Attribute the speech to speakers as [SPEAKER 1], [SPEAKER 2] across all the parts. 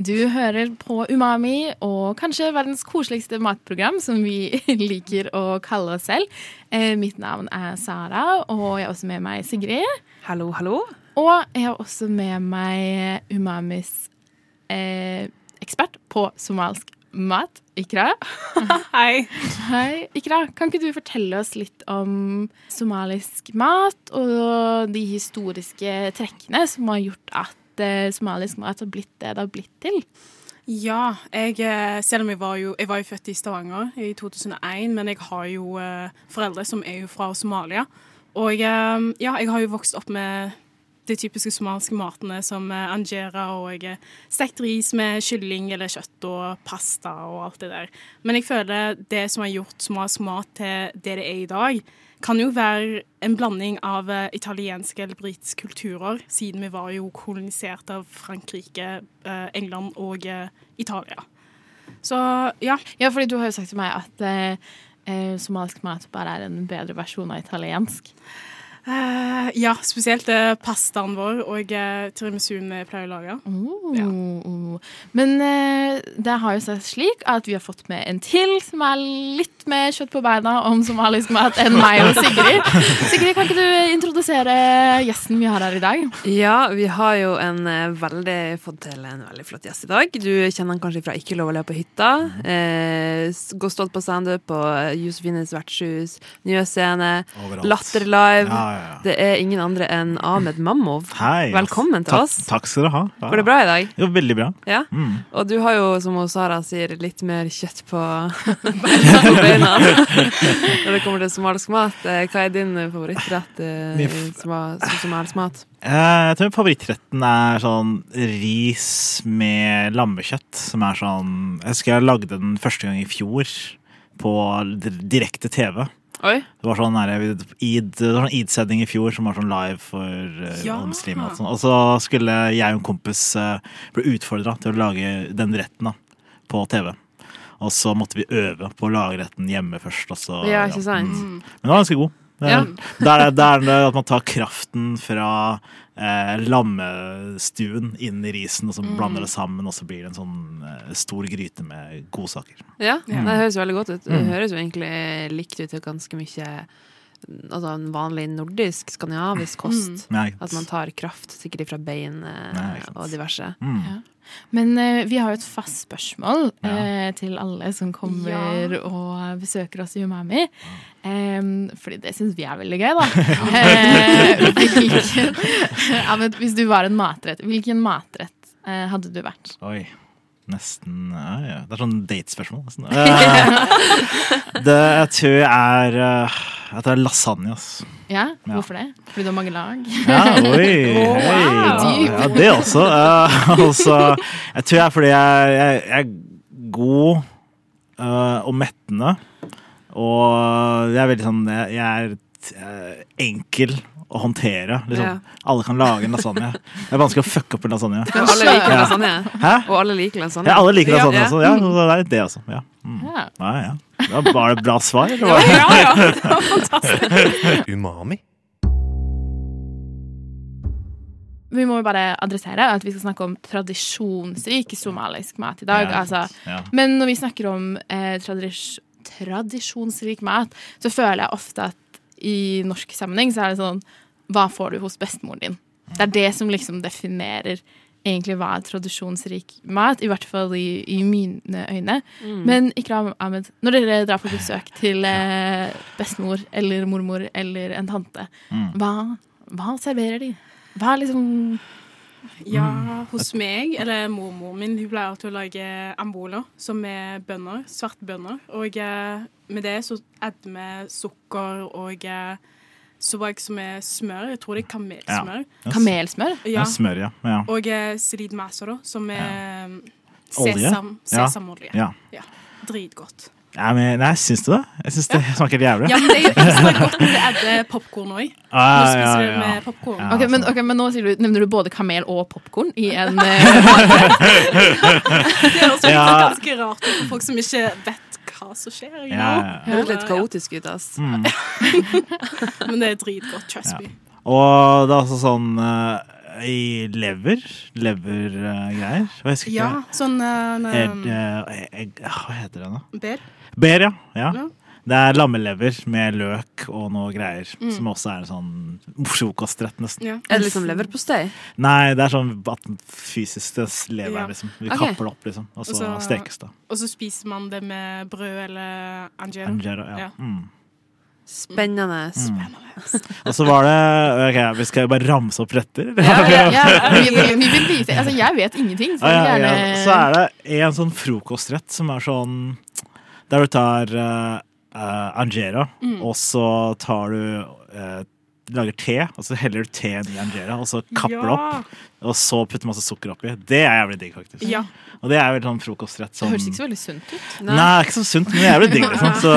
[SPEAKER 1] Du hører på Umami, og kanskje verdens koseligste matprogram, som vi liker å kalle oss selv. Eh, mitt navn er Sara, og jeg har også med meg Sigrid.
[SPEAKER 2] Hallo, hallo.
[SPEAKER 1] Og jeg har også med meg Umamis eh, ekspert på somalsk mat, Ikra.
[SPEAKER 2] Hei.
[SPEAKER 1] Hei, Ikra. Kan ikke du fortelle oss litt om somalisk mat, og de historiske trekkene som har gjort at eh, somalisk mat har blitt det det har blitt til?
[SPEAKER 3] Ja, jeg, eh, selv om jeg var, jo, jeg var jo født i Stavanger i 2001, men jeg har jo eh, foreldre som er jo fra Somalia. Og eh, ja, jeg har jo vokst opp med de typiske somaliske matene som eh, angera og eh, stekt ris med kylling eller kjøtt og pasta og alt det der. Men jeg føler det som har gjort somalisk mat til det det er i dag, kan jo være en blanding av eh, italienske eller britiske kulturer, siden vi var jo kolonisert av Frankrike, eh, England og eh, Italia. Så ja,
[SPEAKER 1] Ja, fordi du har jo sagt til meg at eh, eh, somalisk mat bare er en bedre versjon av italiensk.
[SPEAKER 3] eh, ja spesielt eh, pastaen vår og eh, tiramisuen vi pleier å lage.
[SPEAKER 1] Mm.
[SPEAKER 3] Ja.
[SPEAKER 1] Oh. Men eh, det har jo seg slik at vi har fått med en til som er litt mer kjøtt på beina om somalisk mat enn meg og Sigrid. Sigrid, kan ikke du introdusere gjesten vi har her i dag?
[SPEAKER 2] Ja, vi har jo en eh, veldig fått til en veldig flott gjest i dag. Du kjenner han kanskje fra Ikke lov å le på hytta.
[SPEAKER 4] Mhm.
[SPEAKER 2] Eh, s- gå stolt på standup på eh, Josefines vertshus, Njø scene,
[SPEAKER 4] Overalt.
[SPEAKER 2] Latter live.
[SPEAKER 4] Ja, ja, ja.
[SPEAKER 2] Det er ingen andre enn Ahmed Mammov.
[SPEAKER 4] Hei. ass.
[SPEAKER 2] Velkommen til
[SPEAKER 4] Ta-
[SPEAKER 2] oss.
[SPEAKER 4] Takk skal du ha. Ja.
[SPEAKER 2] Går det bra i dag?
[SPEAKER 4] Jo, veldig bra.
[SPEAKER 2] Ja.
[SPEAKER 4] Mm.
[SPEAKER 2] Og du har jo, som hun Sara sier, litt mer kjøtt på på beina når det kommer til somalisk mat. Eh, Hva er din eh, favorittrett eh, i
[SPEAKER 4] Min
[SPEAKER 2] soma- som somalisk mat?
[SPEAKER 4] Eh, Jeg tror favorittretten er sånn ris med lammekjøtt, som er sånn Jeg husker jeg lagde den første gang i fjor på dir- direkte TV.
[SPEAKER 2] Oi.
[SPEAKER 4] Det var sånn der, id, det var sånn id-sending i fjor som var sånn live for eh,
[SPEAKER 3] Ja.
[SPEAKER 4] alle muslimer. Og, sånn. og så skulle jeg og en kompis eh, bli utfordra til å lage den retten da, på TV. Og så måtte vi øve på å lage retten hjemme først. Og så,
[SPEAKER 2] Ja, ikke sant?
[SPEAKER 4] Mm. Men den var ganske god. Det er,
[SPEAKER 2] Ja.
[SPEAKER 4] der, er, der er det at man tar kraften fra eh, lammestuen inn i risen, og så
[SPEAKER 2] Mm.
[SPEAKER 4] blander det sammen, og så blir det en sånn eh, stor gryte med godsaker.
[SPEAKER 2] Ja,
[SPEAKER 4] Ja.
[SPEAKER 2] det høres jo veldig godt ut. Det
[SPEAKER 4] Mm.
[SPEAKER 2] høres jo egentlig likt ut til ganske mye altså, en vanlig nordisk,
[SPEAKER 4] Mm.
[SPEAKER 2] skandinavisk kost.
[SPEAKER 4] Nei.
[SPEAKER 2] At man tar kraft sikkert fra bein eh,
[SPEAKER 4] Nei, ikke sant.
[SPEAKER 2] og diverse.
[SPEAKER 4] Mm.
[SPEAKER 1] Men eh, vi har jo et fast spørsmål
[SPEAKER 4] Ja.
[SPEAKER 1] eh, til alle som kommer og besøker oss i Umami. Em, fordi det syns vi er veldig gøy, da. Eh, hvilken, ja, men hvis du var en matrett, hvilken matrett eh, hadde du vært?
[SPEAKER 4] Oi. Nesten ja, ja. Det er sånn datespørsmål, nesten. Eh, det jeg tror er eh, Jeg tror lasagne, ass.
[SPEAKER 1] Ja,
[SPEAKER 4] Ja.
[SPEAKER 1] Hvorfor det? Fordi du har mange lag?
[SPEAKER 4] Ja, oi, hei,
[SPEAKER 1] Dyp.
[SPEAKER 4] ja, ja, det også. eh, også. Jeg tror det er fordi jeg, jeg, jeg er god eh, og mettende. Og jeg er veldig sånn Jeg, jeg er eh, enkel å håndtere.
[SPEAKER 2] Ja.
[SPEAKER 4] Liksom. Alle kan lage en lasagne. Det er vanskelig å fucke opp en lasagne.
[SPEAKER 2] Og alle liker
[SPEAKER 4] Ja.
[SPEAKER 2] lasagne.
[SPEAKER 4] Hæ?
[SPEAKER 2] Og alle liker lasagne.
[SPEAKER 4] Ja, alle liker lasagne
[SPEAKER 2] Ja.
[SPEAKER 4] også. Ja, så det er litt det også. Ja. Mm.
[SPEAKER 1] Ja.
[SPEAKER 4] Ja, ja. Da var det bra svar. Eller? var det-
[SPEAKER 5] Umami.
[SPEAKER 1] Vi må jo bare adressere at vi skal snakke om tradisjonsrik somalisk mat i dag.
[SPEAKER 4] Ja,
[SPEAKER 1] altså
[SPEAKER 4] Ja.
[SPEAKER 1] Men når vi snakker om eh, tradis tradisjonsrik mat, så føler jeg ofte at i norsk sammenheng så er det sånn Hva får du hos bestemoren din? Det er det som liksom definerer egentlig hva er tradisjonsrik mat, i hvert fall i, i mine øyne. Men Ikram Ahmed, når dere drar på besøk til eh, bestemor eller mormor eller en tante,
[SPEAKER 4] Mm.
[SPEAKER 1] hva, hva serverer de? Hva er liksom
[SPEAKER 3] Ja, hos meg, eller mormoren min, hun pleier alltid å lage amboler, som er bønner, svarte bønner. Og eh, med det så adder vi sukker og eh, sobak som er smør, jeg tror det er kamelsmør.
[SPEAKER 1] kamelsmør?
[SPEAKER 3] Ja.
[SPEAKER 4] Ja, smør, ja. ja.
[SPEAKER 3] Og eh, srid masoro, som er
[SPEAKER 4] Olje?
[SPEAKER 3] Sesam,
[SPEAKER 4] Ja.
[SPEAKER 3] sesamolje.
[SPEAKER 4] Ja.
[SPEAKER 3] Dritgodt.
[SPEAKER 4] Ja, men, nei, syns du det? Jeg syns det smaker helt jævlig.
[SPEAKER 3] Ja, men det er jo ekstra godt når det edder popkorn òg. Nå
[SPEAKER 4] Ah, ja,
[SPEAKER 3] spiser du
[SPEAKER 4] ja.
[SPEAKER 3] med popkorn.
[SPEAKER 4] Ja. altså.
[SPEAKER 1] Ok, men, ok, men nå sier du, nevner du både kamel og popkorn i en eh,
[SPEAKER 3] Det høres jo
[SPEAKER 4] Ja.
[SPEAKER 3] ganske rart ut for folk som ikke vet hva som skjer. you know?
[SPEAKER 4] Ja, ja, ja.
[SPEAKER 2] Det høres litt kaotisk ut, ass.
[SPEAKER 4] Mm.
[SPEAKER 3] Men det er dritgodt. Trust me.
[SPEAKER 4] Og det er altså sånn eh, i lever Levergreier. jeg husker
[SPEAKER 3] Ja,
[SPEAKER 4] ikke.
[SPEAKER 3] sånn eh,
[SPEAKER 4] Ed,
[SPEAKER 3] eh,
[SPEAKER 4] eh, egg- hva heter det nå?
[SPEAKER 3] Bed.
[SPEAKER 4] Ber, ja. ja.
[SPEAKER 3] Ja.
[SPEAKER 4] Det er lammelever med løk og noe greier.
[SPEAKER 3] Mm.
[SPEAKER 4] Som også er en sånn frokostrett, nesten.
[SPEAKER 3] Ja.
[SPEAKER 2] Er det liksom leverpostei?
[SPEAKER 4] Nei, det er sånn at den fysisk det lever
[SPEAKER 3] Ja.
[SPEAKER 4] her, liksom. Vi
[SPEAKER 2] Ok.
[SPEAKER 4] kapper det opp, liksom. Og så
[SPEAKER 3] Og så-
[SPEAKER 4] stekes det.
[SPEAKER 3] Og så spiser man det med brød eller angelo.
[SPEAKER 4] Angero, ja.
[SPEAKER 3] Ja.
[SPEAKER 4] Mm.
[SPEAKER 2] Spennende.
[SPEAKER 4] Og så var det Ok, vi skal bare ramse opp retter.
[SPEAKER 1] ja, ja, ja, vi, vil- vi vil vite Altså, jeg vet ingenting, så
[SPEAKER 4] Ja, ja,
[SPEAKER 1] gjerne
[SPEAKER 4] ja. Så er det en sånn frokostrett som er sånn Der du tar uh, angera, og så tar du eh, Lager te, og så heller du teen i angera, og så kapper det opp. Og så putter masse sukker oppi. Det er jævlig digg, faktisk.
[SPEAKER 3] Ja.
[SPEAKER 4] Og det er vel sånn frokostrett
[SPEAKER 1] Det
[SPEAKER 4] som
[SPEAKER 1] høres ikke så veldig sunt ut.
[SPEAKER 4] Nei, det er ikke så sunt, men det er jævlig digg. Liksom. Så,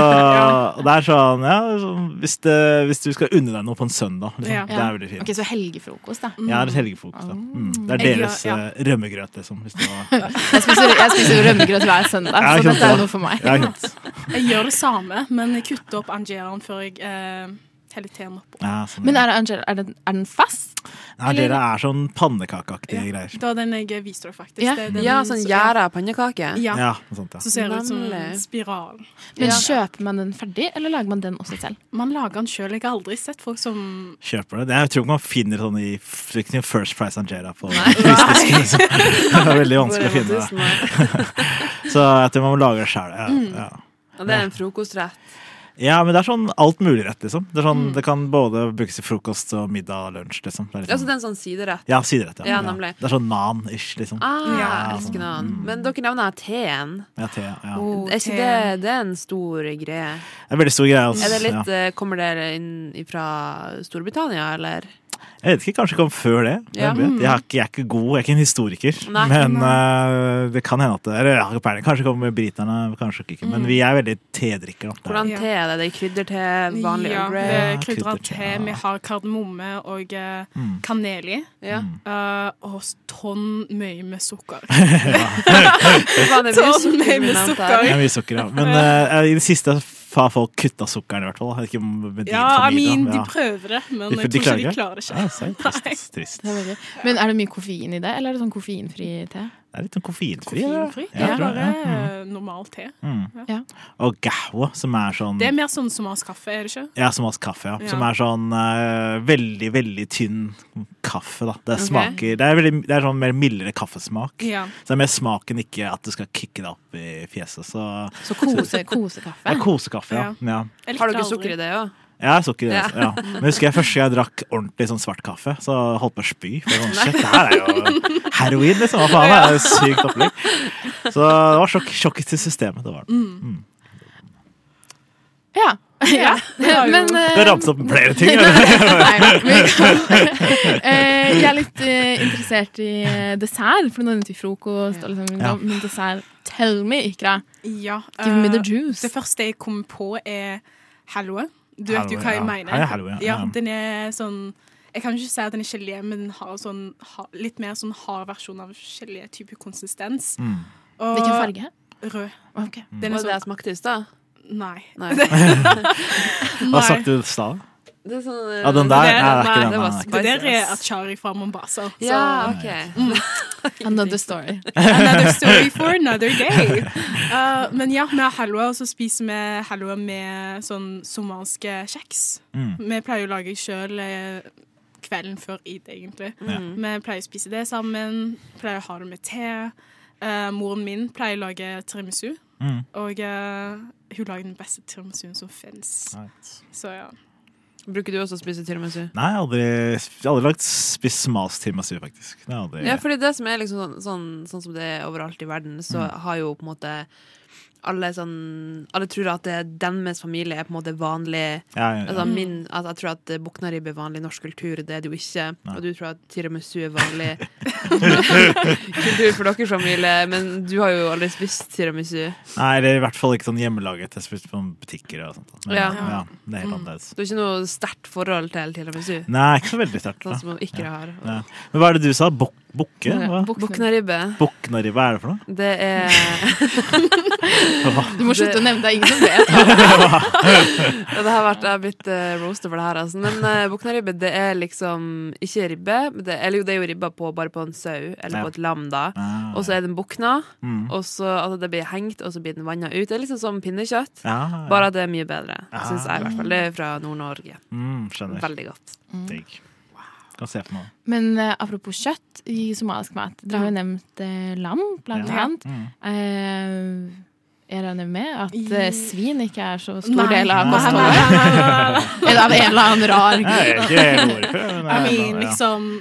[SPEAKER 4] og det er sånn, ja, så hvis, det, hvis du skal unne deg noe på en søndag, liksom,
[SPEAKER 3] Ja.
[SPEAKER 4] det er veldig fint.
[SPEAKER 1] Ok, Så helgefrokost, da.
[SPEAKER 4] Jeg har et helgefokus, da. Mm. Det
[SPEAKER 3] Jeg
[SPEAKER 4] er
[SPEAKER 3] gjør-
[SPEAKER 4] deres
[SPEAKER 3] ja.
[SPEAKER 4] eh, rømmegrøt, liksom. Hvis det var
[SPEAKER 1] Jeg spiser, jeg spiser rømmegrøt hver søndag,
[SPEAKER 4] Ja,
[SPEAKER 1] så
[SPEAKER 4] ikke sant,
[SPEAKER 1] dette er
[SPEAKER 4] ja.
[SPEAKER 1] noe for meg.
[SPEAKER 4] Ja, ikke sant.
[SPEAKER 3] Jeg gjør det samme, men jeg kutter opp angeraen før jeg eh, heller teen oppå.
[SPEAKER 4] Ja, sånn.
[SPEAKER 1] Men er, det Angela, er, den, er den fast?
[SPEAKER 4] Nei, dere er sånn pannekakeaktige greier.
[SPEAKER 3] Det var den jeg viste deg, faktisk.
[SPEAKER 1] Ja.
[SPEAKER 3] Det er den
[SPEAKER 2] Ja, sånn
[SPEAKER 3] som-
[SPEAKER 2] gjære av pannekaker.
[SPEAKER 3] Ja.
[SPEAKER 4] Ja, noe sånt, ja.
[SPEAKER 3] Så ser det ut som en
[SPEAKER 2] Nemlig.
[SPEAKER 3] spiral.
[SPEAKER 1] Men Kjøper man den ferdig, eller lager man den også selv?
[SPEAKER 3] Man lager den sjøl. Jeg har aldri sett folk som
[SPEAKER 4] Kjøper det. Jeg tror ikke man finner sånn i frykten First Price Angela på frysdisken. liksom. Det er veldig vanskelig å
[SPEAKER 2] Hvor er
[SPEAKER 4] finne.
[SPEAKER 2] tusen år?
[SPEAKER 4] Så jeg tror man må lage det sjæl. Ja, ja.
[SPEAKER 2] Og det er en frokostrett.
[SPEAKER 4] ja, men det er sånn alt mulig rett, liksom. Det, er sånn, det kan både brukes til frokost og middag og lunsj, liksom. Det er
[SPEAKER 2] Det er også
[SPEAKER 4] liksom
[SPEAKER 2] den sånn siderett.
[SPEAKER 4] ja, siderett. Ja.
[SPEAKER 2] Ja, nemlig.
[SPEAKER 4] Det er sånn nan-ish, liksom.
[SPEAKER 2] Ah,
[SPEAKER 3] Ja.
[SPEAKER 2] jeg elsker
[SPEAKER 4] sånn.
[SPEAKER 2] den.
[SPEAKER 4] Mm.
[SPEAKER 2] Men dere nevner teen.
[SPEAKER 4] Ja, te, ja.
[SPEAKER 3] oh,
[SPEAKER 2] Er ikke
[SPEAKER 3] teen.
[SPEAKER 2] det, det er en stor greie?
[SPEAKER 4] Det er en veldig stor greie.
[SPEAKER 2] Er det
[SPEAKER 4] Altså.
[SPEAKER 2] litt,
[SPEAKER 4] Ja.
[SPEAKER 2] eh, Kommer dere inn fra Storbritannia, eller?
[SPEAKER 4] Jeg vet ikke, kanskje det kom før det.
[SPEAKER 2] Ja.
[SPEAKER 4] Jeg, vet. Jeg, har ikke, jeg er ikke god, jeg er ikke en historiker.
[SPEAKER 2] Nei.
[SPEAKER 4] men eh, det kan hende at det, eller, jeg har ikke peiling. Kanskje det kommer med briterne, kanskje ikke. Men vi er veldig tedrikkere. da.
[SPEAKER 2] Hvordan
[SPEAKER 3] Ja.
[SPEAKER 2] te er det? Det er krydderte, vanlig
[SPEAKER 3] ja,
[SPEAKER 2] Earl
[SPEAKER 3] det
[SPEAKER 2] Grey?
[SPEAKER 3] er krydret
[SPEAKER 4] krydder,
[SPEAKER 3] te.
[SPEAKER 4] ja.
[SPEAKER 3] Vi har kardemomme og eh,
[SPEAKER 4] Mm.
[SPEAKER 3] kanel i.
[SPEAKER 2] Ja.
[SPEAKER 3] eh, og tonn mye med sukker.
[SPEAKER 2] Faen, det blir sukker
[SPEAKER 3] Sånn med-
[SPEAKER 2] som blir
[SPEAKER 3] med
[SPEAKER 2] nevnt
[SPEAKER 3] sukker.
[SPEAKER 4] Det
[SPEAKER 2] her.
[SPEAKER 4] er mye sukker, ja. Men eh, i det siste har folk kutta sukkeren, i hvert fall. da. Ikke med din
[SPEAKER 3] Ja, I
[SPEAKER 4] familie.
[SPEAKER 3] mean, de
[SPEAKER 4] ja.
[SPEAKER 3] prøver det, men
[SPEAKER 4] De-
[SPEAKER 3] jeg
[SPEAKER 4] de
[SPEAKER 3] tror ikke de
[SPEAKER 4] klarer
[SPEAKER 3] klarer det
[SPEAKER 4] Ja,
[SPEAKER 3] ikke.
[SPEAKER 4] så er det trist, trist.
[SPEAKER 1] Det er veldig- Men er det mye koffein i det, eller er det sånn koffeinfri te?
[SPEAKER 4] Det er litt sånn koffeinfri. ja.
[SPEAKER 3] Koffeinfri. Det
[SPEAKER 4] Ja, jeg
[SPEAKER 3] er
[SPEAKER 4] tror
[SPEAKER 3] bare
[SPEAKER 4] det, ja. Mm.
[SPEAKER 3] eh, normal te.
[SPEAKER 4] Og gahwa, som er sånn
[SPEAKER 3] Det er mer sånn som hans kaffe, er det ikke?
[SPEAKER 4] ja, som oss kaffe, ja.
[SPEAKER 3] Ja.
[SPEAKER 4] Som er sånn eh, veldig, veldig tynn kaffe, da. Det
[SPEAKER 2] Ok.
[SPEAKER 4] smaker Det er, veldig, det er sånn mer mildere kaffesmak.
[SPEAKER 3] Ja.
[SPEAKER 4] Så det er mer smaken, ikke at du skal kicke deg opp i fjeset. Så
[SPEAKER 1] Så kose, kosekaffe?
[SPEAKER 4] det er kosekaffe, ja. ja.
[SPEAKER 3] Jeg
[SPEAKER 2] Har
[SPEAKER 3] likte
[SPEAKER 2] dere
[SPEAKER 3] aldri.
[SPEAKER 2] sukker i det òg?
[SPEAKER 4] Jeg er sukker i det. altså, Ja. Men husker jeg første gang jeg drakk ordentlig sånn svart kaffe, så holdt på å spy. For sånn, shit, det her er jo heroin, liksom. Hva faen? Det er jo sykt opplegg. Så det var sjokk, sjokket til systemet. Det var det.
[SPEAKER 1] Ja. ja.
[SPEAKER 3] Ja, jo.
[SPEAKER 1] Men
[SPEAKER 4] Du har
[SPEAKER 1] eh,
[SPEAKER 4] ramset opp flere ting. eller?
[SPEAKER 1] Nei, men, Eh, jeg er litt eh, interessert i eh, dessert, for nå nevnte vi frokost. Og liksom,
[SPEAKER 4] Ja.
[SPEAKER 1] Men dessert Tell me, Ikra.
[SPEAKER 3] Ja,
[SPEAKER 1] Give me the
[SPEAKER 3] eh,
[SPEAKER 1] juice.
[SPEAKER 3] Det første jeg kom på, er halloe. Du vet jo
[SPEAKER 4] Halloe,
[SPEAKER 3] hva jeg
[SPEAKER 4] ja.
[SPEAKER 3] mener.
[SPEAKER 4] Ja, ja, halloe, ja.
[SPEAKER 3] ja,
[SPEAKER 4] Ja.
[SPEAKER 3] den er sånn Jeg kan ikke si at den er gelé, men den har sånn ha, litt mer sånn hard versjon av gelé-type konsistens.
[SPEAKER 4] Mm.
[SPEAKER 3] Og
[SPEAKER 1] Hvilken farge?
[SPEAKER 3] Rød.
[SPEAKER 1] Ok.
[SPEAKER 2] Var det
[SPEAKER 3] Den er
[SPEAKER 2] det jeg
[SPEAKER 3] sånn
[SPEAKER 2] smakte i stad?
[SPEAKER 3] Nei.
[SPEAKER 2] Nei.
[SPEAKER 4] Hva
[SPEAKER 3] Nei.
[SPEAKER 4] sagt du i stad?
[SPEAKER 2] Det er sånn, eh,
[SPEAKER 4] Ja, den der? Nei,
[SPEAKER 3] Det-
[SPEAKER 4] det er ikke
[SPEAKER 2] nei,
[SPEAKER 4] den.
[SPEAKER 2] det var
[SPEAKER 4] nei, nei.
[SPEAKER 3] Det der
[SPEAKER 2] Spicy,
[SPEAKER 3] er
[SPEAKER 2] ass.
[SPEAKER 3] achari fra Mombasa. Så
[SPEAKER 2] Ja, OK.
[SPEAKER 1] Another story.
[SPEAKER 3] another story for another day. Eh, men ja, vi har halloa, og så spiser vi halloa med sånn somaliske kjeks.
[SPEAKER 4] Mm.
[SPEAKER 3] Vi pleier å lage sjøl kvelden før id, egentlig.
[SPEAKER 4] Ja.
[SPEAKER 1] Mm.
[SPEAKER 3] Vi pleier å spise det sammen, pleier å ha det med te. Eh, moren min pleier å lage tiramisu,
[SPEAKER 4] Mm.
[SPEAKER 3] og eh, hun lager den beste tiramisuen som fins.
[SPEAKER 4] Nei.
[SPEAKER 3] Så ja.
[SPEAKER 2] Bruker du også å spise tiramisu?
[SPEAKER 4] Nei, jeg har aldri, jeg har aldri lagt spiss mas tiramisu, faktisk. Det har jeg aldri.
[SPEAKER 2] Ja, fordi det som er liksom sånn, sånn, sånn som det er overalt i verden, så
[SPEAKER 4] Mm.
[SPEAKER 2] har jo på en måte alle sånn Alle tror at det, deres familie er på en måte vanlig
[SPEAKER 4] Ja, ja, ja.
[SPEAKER 2] Altså, min, altså, jeg tror at eh, buknaribbe er vanlig norsk kultur, det er det jo ikke.
[SPEAKER 4] Nei.
[SPEAKER 2] Og du tror at tiramisu er vanlig kultur for deres familie, men du har jo aldri spist tiramisu.
[SPEAKER 4] Nei, eller i hvert fall ikke sånn hjemmelaget. Jeg spiste på butikker og sånt. Men, ja.
[SPEAKER 2] Ja.
[SPEAKER 4] det er helt annerledes.
[SPEAKER 2] Du har ikke noe sterkt forhold til tiramisu,
[SPEAKER 4] Nei, ikke så veldig sterkt.
[SPEAKER 2] sånn
[SPEAKER 4] da.
[SPEAKER 2] som man ikke har.
[SPEAKER 4] Ja. Men hva er det du sa? Bok, bukke? Hva?
[SPEAKER 2] Buknaribbe,
[SPEAKER 4] Buknari, hva er det for noe?
[SPEAKER 2] det er
[SPEAKER 1] Du må slutte å
[SPEAKER 2] Det-
[SPEAKER 1] nevne det. er Ingen som vet.
[SPEAKER 2] Ja, det har vært, jeg har blitt uh, roaster for det her, altså. Men uh, buknaribbe, det er liksom ikke ribbe. men Det, eller jo, det er jo ribba på, bare på en sau, eller
[SPEAKER 4] Ja.
[SPEAKER 2] på et lam, da.
[SPEAKER 4] Ah.
[SPEAKER 2] Og så er den bukna,
[SPEAKER 4] Mm.
[SPEAKER 2] og så altså, det blir hengt, og så blir den vanna ut. Det er liksom som pinnekjøtt,
[SPEAKER 4] Ja, ja.
[SPEAKER 2] bare at det er mye bedre,
[SPEAKER 4] Ah.
[SPEAKER 2] syns jeg i hvert fall. Det er fra Nord-Norge.
[SPEAKER 4] mm, Skjønner.
[SPEAKER 2] Veldig godt.
[SPEAKER 4] Digg. Kan se på noe.
[SPEAKER 1] Men eh, apropos kjøtt i somalisk mat. Dere har jo nevnt eh, lam, blant
[SPEAKER 4] Ja.
[SPEAKER 1] annet.
[SPEAKER 4] Mm.
[SPEAKER 1] Eh, jeg regner med at eh, svin ikke er så stor
[SPEAKER 3] Nei.
[SPEAKER 1] del av
[SPEAKER 4] Nei.
[SPEAKER 1] kostholdet? Eller av en eller annen rar
[SPEAKER 4] Nei,
[SPEAKER 1] grunn.
[SPEAKER 4] jeg er ikke helt ordet for
[SPEAKER 3] I
[SPEAKER 4] det, men det er
[SPEAKER 3] mean,
[SPEAKER 4] noe, ja.
[SPEAKER 3] liksom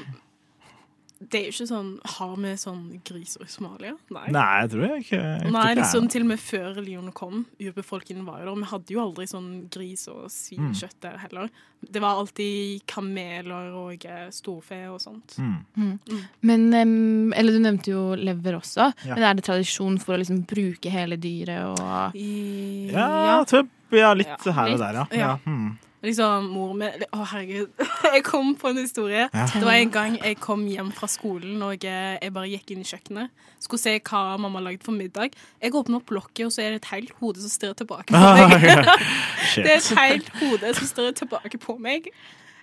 [SPEAKER 3] Det er jo ikke sånn Har vi sånn griser i Somalia? Nei.
[SPEAKER 4] Nei, jeg tror jeg ikke jeg tror
[SPEAKER 3] Nei,
[SPEAKER 4] ikke det er
[SPEAKER 3] liksom
[SPEAKER 4] noe.
[SPEAKER 3] Til og med før religionen kom, urbefolkningen var jo der. og Vi hadde jo aldri sånn gris- og svinekjøtt der heller. Det var alltid kameler og eh, storfe og sånt.
[SPEAKER 4] mm.
[SPEAKER 1] Men, em, eller du nevnte jo lever også.
[SPEAKER 4] Ja.
[SPEAKER 1] Men er det tradisjon for å liksom bruke hele dyret og
[SPEAKER 3] I,
[SPEAKER 4] Ja, jeg tror jeg ja, litt
[SPEAKER 3] Ja,
[SPEAKER 4] her og
[SPEAKER 1] litt.
[SPEAKER 4] der, ja. ja.
[SPEAKER 3] Ja.
[SPEAKER 4] Mm.
[SPEAKER 3] Liksom, mor med Å, herregud. Jeg kom på en historie.
[SPEAKER 4] Ja.
[SPEAKER 3] Det var en gang jeg kom hjem fra skolen, og eh, jeg bare gikk inn i kjøkkenet. Skulle se hva mamma lagde for middag. Jeg åpner opp lokket, og så er det et helt hode som stirrer tilbake på meg.
[SPEAKER 4] Shit.
[SPEAKER 3] Det er et helt hode som stirrer tilbake på meg.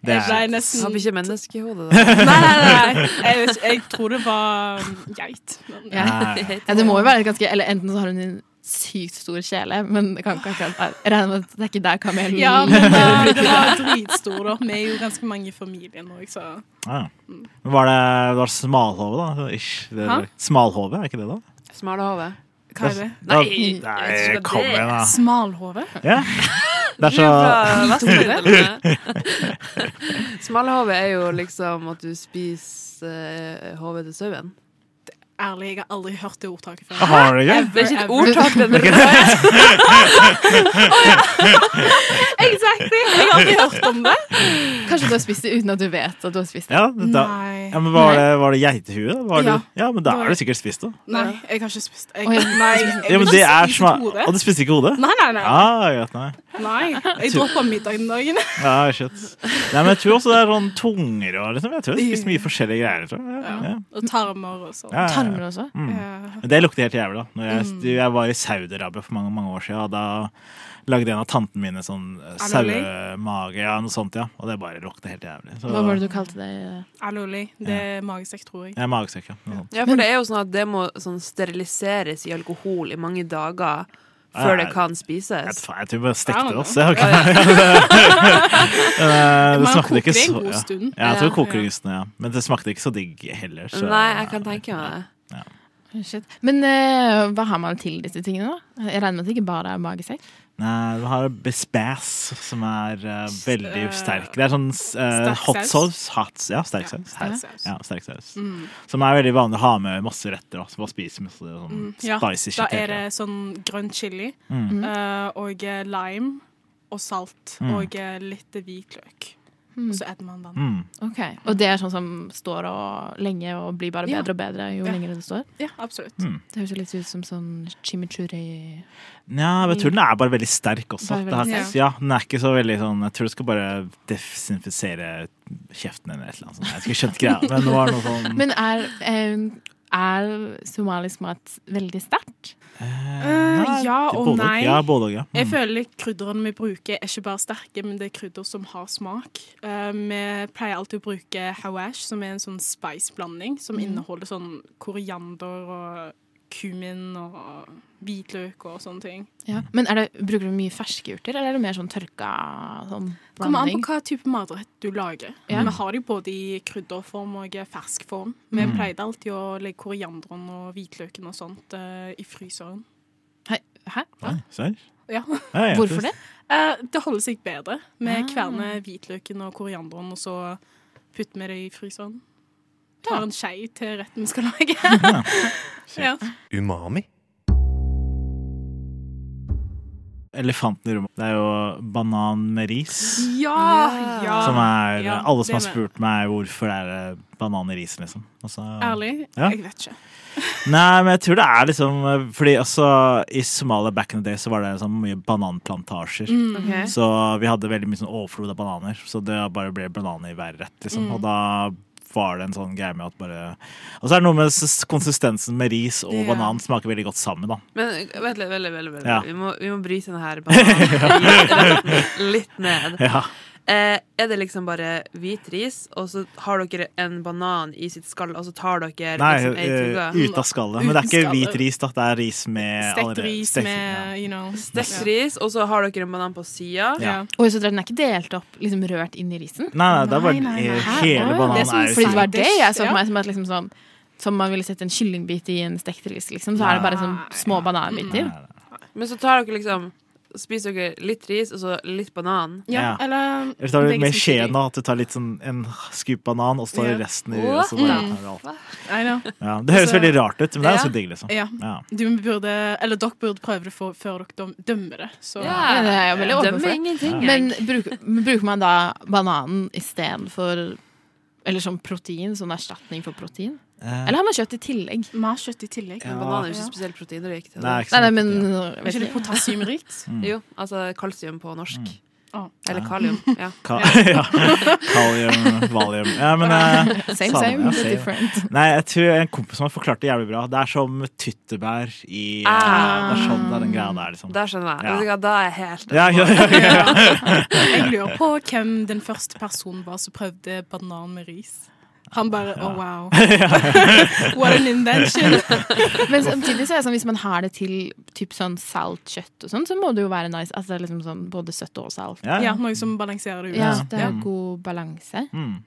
[SPEAKER 4] Det
[SPEAKER 3] Jeg ble
[SPEAKER 4] er-
[SPEAKER 2] Jeg
[SPEAKER 3] nesten
[SPEAKER 2] Har
[SPEAKER 3] Nei,
[SPEAKER 2] ikke menneske i hodet, da.
[SPEAKER 3] nei, nei. Jeg, vet ikke, jeg tror det var mm, geit. Men,
[SPEAKER 1] ja.
[SPEAKER 4] Nei.
[SPEAKER 1] ja, det må jo være et ganske Eller enten så har hun en sykt stor kjele, men det kan ikke akkurat være Jeg regner med at det er ikke der kamelen
[SPEAKER 3] ja, men eh, det var dritstor, da. Vi er jo ganske mange i familien òg, så
[SPEAKER 4] Ah, Ja. Men var det, var det smalhove, da? Ish. Det,
[SPEAKER 3] Hæ?
[SPEAKER 4] smalhove, er ikke det, da?
[SPEAKER 2] Smalahove.
[SPEAKER 3] Hva er det?
[SPEAKER 4] Nei,
[SPEAKER 2] jeg
[SPEAKER 4] Nei
[SPEAKER 2] husker
[SPEAKER 4] kom
[SPEAKER 2] det.
[SPEAKER 4] igjen,
[SPEAKER 3] altså.
[SPEAKER 4] da.
[SPEAKER 3] Smalhove?
[SPEAKER 4] Ja. Det er
[SPEAKER 2] Du
[SPEAKER 4] så
[SPEAKER 2] er fra Vestlandet. Smalahove er jo liksom at du spiser uh, hodet til sauen.
[SPEAKER 3] Ærlig, jeg har aldri hørt det ordtaket før.
[SPEAKER 4] Har du det gøy?
[SPEAKER 2] Det er ikke et
[SPEAKER 3] Ever,
[SPEAKER 2] ordtak, det er bare
[SPEAKER 3] Exactly! Jeg har aldri hørt om det.
[SPEAKER 1] Kanskje du har spist det uten at du vet at du har spist det.
[SPEAKER 4] Ja, da,
[SPEAKER 3] Nei.
[SPEAKER 4] ja, men var det, var det geitehue? Var det,
[SPEAKER 3] Ja.
[SPEAKER 4] ja, men da er du sikkert spist, da.
[SPEAKER 3] Nei, jeg har ikke spist jeg,
[SPEAKER 1] Oi.
[SPEAKER 3] Nei, jeg
[SPEAKER 4] Ja, men
[SPEAKER 3] vil
[SPEAKER 4] det
[SPEAKER 3] ikke
[SPEAKER 4] er
[SPEAKER 3] spise
[SPEAKER 4] sma...
[SPEAKER 3] et hode.
[SPEAKER 4] Og du spiste ikke hodet?
[SPEAKER 3] Nei, nei, nei.
[SPEAKER 4] Ah, greit, nei.
[SPEAKER 3] nei. Jeg droppa middag den dagen.
[SPEAKER 4] Ja, shit. Nei, men jeg tror også det er sånn tunger og liksom. Jeg tror jeg har spist mye forskjellige greier. Tror jeg. Ja, ja.
[SPEAKER 3] Og tarmer og sånn.
[SPEAKER 4] Ja, Mm. ja, ja.
[SPEAKER 1] Tarmer også.
[SPEAKER 3] Eh,
[SPEAKER 4] Men Det lukter helt jævlig. da Når jeg,
[SPEAKER 3] Mm.
[SPEAKER 4] jeg var i Saudi-Arabia for mange mange år siden. Og da lagde en av tantene mine sånn eh,
[SPEAKER 3] Aioli?
[SPEAKER 4] sauemage, ja, noe sånt, ja. Og det bare lukter helt jævlig. Så,
[SPEAKER 1] Hva var det du kalte det?
[SPEAKER 3] Aloli. Det er magesekk, tror jeg.
[SPEAKER 4] Ja, magesekk, ja. Noe sånt.
[SPEAKER 2] Ja, for det er jo sånn at det må sånn, steriliseres i alkohol i mange dager
[SPEAKER 4] Ja,
[SPEAKER 2] før det
[SPEAKER 4] jeg-
[SPEAKER 2] kan
[SPEAKER 4] Jeg, vet
[SPEAKER 2] spises.
[SPEAKER 4] faen, jeg tror jeg bare
[SPEAKER 3] Ja,
[SPEAKER 4] stekte
[SPEAKER 3] men
[SPEAKER 4] det
[SPEAKER 3] da.
[SPEAKER 4] også. Jeg, har ikke- Eh, det
[SPEAKER 3] Man
[SPEAKER 4] smakte ikke
[SPEAKER 3] koker det en
[SPEAKER 4] så
[SPEAKER 3] god
[SPEAKER 4] ja.
[SPEAKER 3] stund.
[SPEAKER 4] Ja, jeg tror
[SPEAKER 2] Ja,
[SPEAKER 4] koker
[SPEAKER 3] ja.
[SPEAKER 4] det gusten, ja. Men det smakte ikke så digg heller. Så,
[SPEAKER 2] Nei, jeg kan tenke meg det.
[SPEAKER 1] Shit. Men eh, hva har man til disse tingene, da? Jeg regner med at det ikke bare er magesekk?
[SPEAKER 4] Nei, du har bespass, som er eh, veldig
[SPEAKER 3] Eh,
[SPEAKER 4] sterk. Det er sånn eh,
[SPEAKER 3] sterk
[SPEAKER 4] hot
[SPEAKER 3] saus.
[SPEAKER 4] sauce. Hot, ja,
[SPEAKER 3] Ja,
[SPEAKER 4] sterk saus.
[SPEAKER 3] sterk saus. Mm.
[SPEAKER 4] Ja, sterk saus. Som er veldig vanlig å ha med masse retter. Også, bare spise masse sånn
[SPEAKER 3] Mm, Ja,
[SPEAKER 4] spicy Mm.
[SPEAKER 3] da
[SPEAKER 4] shit.
[SPEAKER 3] er
[SPEAKER 4] hele
[SPEAKER 3] det
[SPEAKER 4] tiden.
[SPEAKER 3] sånn grønn chili eh, og eh, lime og salt og eh, litt hvitløk. Og så edder man den.
[SPEAKER 4] Mm. Mm.
[SPEAKER 1] Ok, Og det er sånn som står og lenge og blir bare
[SPEAKER 3] Ja.
[SPEAKER 1] bedre og bedre jo
[SPEAKER 3] Ja.
[SPEAKER 1] lenger det står?
[SPEAKER 3] Ja, absolutt.
[SPEAKER 4] Mm.
[SPEAKER 1] Det høres jo litt ut som sånn chimichurri
[SPEAKER 4] Ja, men jeg tror den er bare veldig sterk også.
[SPEAKER 1] Bare
[SPEAKER 4] Det har,
[SPEAKER 3] Mm. veldig
[SPEAKER 4] ikke-
[SPEAKER 3] sterk.
[SPEAKER 4] ja, den er ikke så veldig sånn Jeg tror du skal bare desinfisere kjeften eller et eller annet sånt. Jeg skulle skjønt greia, men det var noe
[SPEAKER 3] Mm.
[SPEAKER 4] sånn
[SPEAKER 1] Men er, eh, er somalisk mat veldig sterkt?
[SPEAKER 3] Eh,
[SPEAKER 4] Nei,
[SPEAKER 3] ja
[SPEAKER 4] det er
[SPEAKER 3] og
[SPEAKER 4] både-
[SPEAKER 3] nei.
[SPEAKER 4] Ja, både og, ja. Mm.
[SPEAKER 3] Jeg føler krydderne vi bruker, er ikke bare sterke, men det er krydder som har smak. Eh, vi pleier alltid å bruke hawash, som er en sånn spice-blanding som inneholder sånn koriander og kumin og hvitløk og sånne ting.
[SPEAKER 1] Ja. Men er det, bruker du mye ferske urter, eller er det mer sånn tørka sånn
[SPEAKER 3] Kommer an på
[SPEAKER 1] blanding?
[SPEAKER 3] hva type matrett du lager.
[SPEAKER 1] Ja.
[SPEAKER 3] Vi har de både i krydderform og fersk form. Vi pleide alltid å legge korianderen og hvitløken og sånt eh, i fryseren.
[SPEAKER 1] Hæ?
[SPEAKER 4] Nei, serr?
[SPEAKER 3] Ja.
[SPEAKER 4] Ja,
[SPEAKER 1] Hvorfor det?
[SPEAKER 3] Eh, det holder seg bedre. Vi
[SPEAKER 1] Ah.
[SPEAKER 3] kverner hvitløken og korianderen, og så putter vi det i fryseren.
[SPEAKER 1] Ja.
[SPEAKER 3] Tar en skei til retten vi skal lage. ja.
[SPEAKER 5] Umami.
[SPEAKER 4] Elefanten i rommet. Det er jo banan med ris.
[SPEAKER 3] Ja, ja.
[SPEAKER 4] Ah. Som er
[SPEAKER 3] ja,
[SPEAKER 4] Alle som har
[SPEAKER 3] det med.
[SPEAKER 4] spurt meg hvorfor det er det banan i ris, liksom. Og så-
[SPEAKER 3] Ærlig?
[SPEAKER 4] Ja.
[SPEAKER 3] Jeg vet ikke.
[SPEAKER 4] Nei, men jeg tror det er liksom Fordi altså, i Somalia back in the day så var det sånn mye bananplantasjer.
[SPEAKER 3] Mm.
[SPEAKER 2] Ok.
[SPEAKER 4] Så vi hadde veldig mye sånn overflod av bananer, så det bare ble bananer i hver rett. liksom.
[SPEAKER 3] Mm.
[SPEAKER 4] Og da var det en sånn greie med at bare Og så er det noe med s- konsistensen med ris og
[SPEAKER 3] Ja.
[SPEAKER 4] banan smaker veldig godt sammen, da.
[SPEAKER 2] Men vent litt, vent litt, vent litt, vent litt.
[SPEAKER 4] Ja.
[SPEAKER 2] Vi, må, vi må bryte denne her bananen litt ned.
[SPEAKER 4] Ja.
[SPEAKER 2] Eh, er det liksom bare hvit ris, og så har dere en banan i sitt skall, og så tar dere
[SPEAKER 4] Nei,
[SPEAKER 2] liksom ei tugge?
[SPEAKER 4] eh, ut av skallet. Men det er
[SPEAKER 3] Uten
[SPEAKER 4] ikke
[SPEAKER 3] skallet.
[SPEAKER 4] hvit ris, da. Det er ris med
[SPEAKER 3] Stekt
[SPEAKER 4] allerede-
[SPEAKER 3] ris
[SPEAKER 4] stekt-
[SPEAKER 3] med you know
[SPEAKER 2] Stekt ris, og så har dere en banan på sida.
[SPEAKER 3] Ja.
[SPEAKER 4] Ja.
[SPEAKER 1] Oi, så den er ikke delt opp, liksom rørt inn i risen?
[SPEAKER 4] Nei, nei, det er bare
[SPEAKER 3] Nei, nei, nei.
[SPEAKER 1] Hæ?
[SPEAKER 4] hele
[SPEAKER 1] Å, ja.
[SPEAKER 4] bananen
[SPEAKER 3] Det som
[SPEAKER 4] er jo
[SPEAKER 3] er
[SPEAKER 1] Fordi det
[SPEAKER 4] sånn.
[SPEAKER 1] var det jeg så
[SPEAKER 3] Ja.
[SPEAKER 1] for meg som at liksom sånn som man ville sett en kyllingbit i en stekt ris, liksom. Så er det bare sånn små bananbiter.
[SPEAKER 2] Men så tar dere liksom Spiser dere litt ris, og så litt banan.
[SPEAKER 3] Ja,
[SPEAKER 4] Ja.
[SPEAKER 3] eller
[SPEAKER 4] Eller tar du
[SPEAKER 3] det er
[SPEAKER 4] med
[SPEAKER 3] liksom
[SPEAKER 4] skjeen, da, at du tar litt sånn en skup banan, og så tar du
[SPEAKER 3] Ja.
[SPEAKER 4] resten i og så bare
[SPEAKER 2] Mm.
[SPEAKER 4] tar du alt.
[SPEAKER 3] I know.
[SPEAKER 4] Ja, det høres
[SPEAKER 3] Så-
[SPEAKER 4] veldig rart ut, men det er ganske
[SPEAKER 2] Ja.
[SPEAKER 4] digg, liksom.
[SPEAKER 3] Ja.
[SPEAKER 4] Ja.
[SPEAKER 3] Du burde, eller dere burde prøve det for, før dere døm- dømmer det. Så.
[SPEAKER 1] Ja, det er jeg veldig åpen for.
[SPEAKER 2] Dømmer ingenting.
[SPEAKER 1] Men
[SPEAKER 2] jeg.
[SPEAKER 1] bruker, men bruker man da bananen istedenfor Eller som protein, sånn erstatning for protein?
[SPEAKER 4] Eh,
[SPEAKER 1] Eller har man kjøtt i tillegg?
[SPEAKER 3] Vi har kjøtt i tillegg.
[SPEAKER 2] Men banan er jo ikke spesielt proteinrikt.
[SPEAKER 4] det er ikke
[SPEAKER 1] Nei, nei,
[SPEAKER 4] sant,
[SPEAKER 1] men
[SPEAKER 4] ja.
[SPEAKER 1] jeg
[SPEAKER 3] Er
[SPEAKER 1] vet
[SPEAKER 3] ikke det
[SPEAKER 1] ikke.
[SPEAKER 3] potassiumrikt?
[SPEAKER 2] Jo, altså kalsium på norsk.
[SPEAKER 4] Mm.
[SPEAKER 3] Å.
[SPEAKER 2] Eller kalium. Ja.
[SPEAKER 4] Ka ja. Kalium, valium Ja, men eh,
[SPEAKER 1] Same,
[SPEAKER 4] Samme,
[SPEAKER 1] same,
[SPEAKER 4] ja,
[SPEAKER 1] but
[SPEAKER 4] same.
[SPEAKER 1] different.
[SPEAKER 4] Nei, jeg tror en kompis som har forklart det jævlig bra. Det er som tyttebær i eh, Det er sånn det er den greia der, liksom.
[SPEAKER 2] Der skjønner jeg.
[SPEAKER 4] Ja.
[SPEAKER 2] Vet du hva, Da er jeg helt
[SPEAKER 4] Ja, ja, ja, ja.
[SPEAKER 3] Jeg lurer på hvem den første personen var som prøvde banan med ris. Han bare oh wow. What an invention.
[SPEAKER 1] Men samtidig så er det sånn hvis man har det til typ sånn salt kjøtt og sånn, så må det jo være nice. Altså det er liksom sånn både søtt og salt.
[SPEAKER 4] ja.
[SPEAKER 3] Ja,
[SPEAKER 4] ja.
[SPEAKER 3] Noe som balanserer det ut.
[SPEAKER 1] Ja, det er
[SPEAKER 4] Mm.
[SPEAKER 1] god balanse.
[SPEAKER 4] Mm.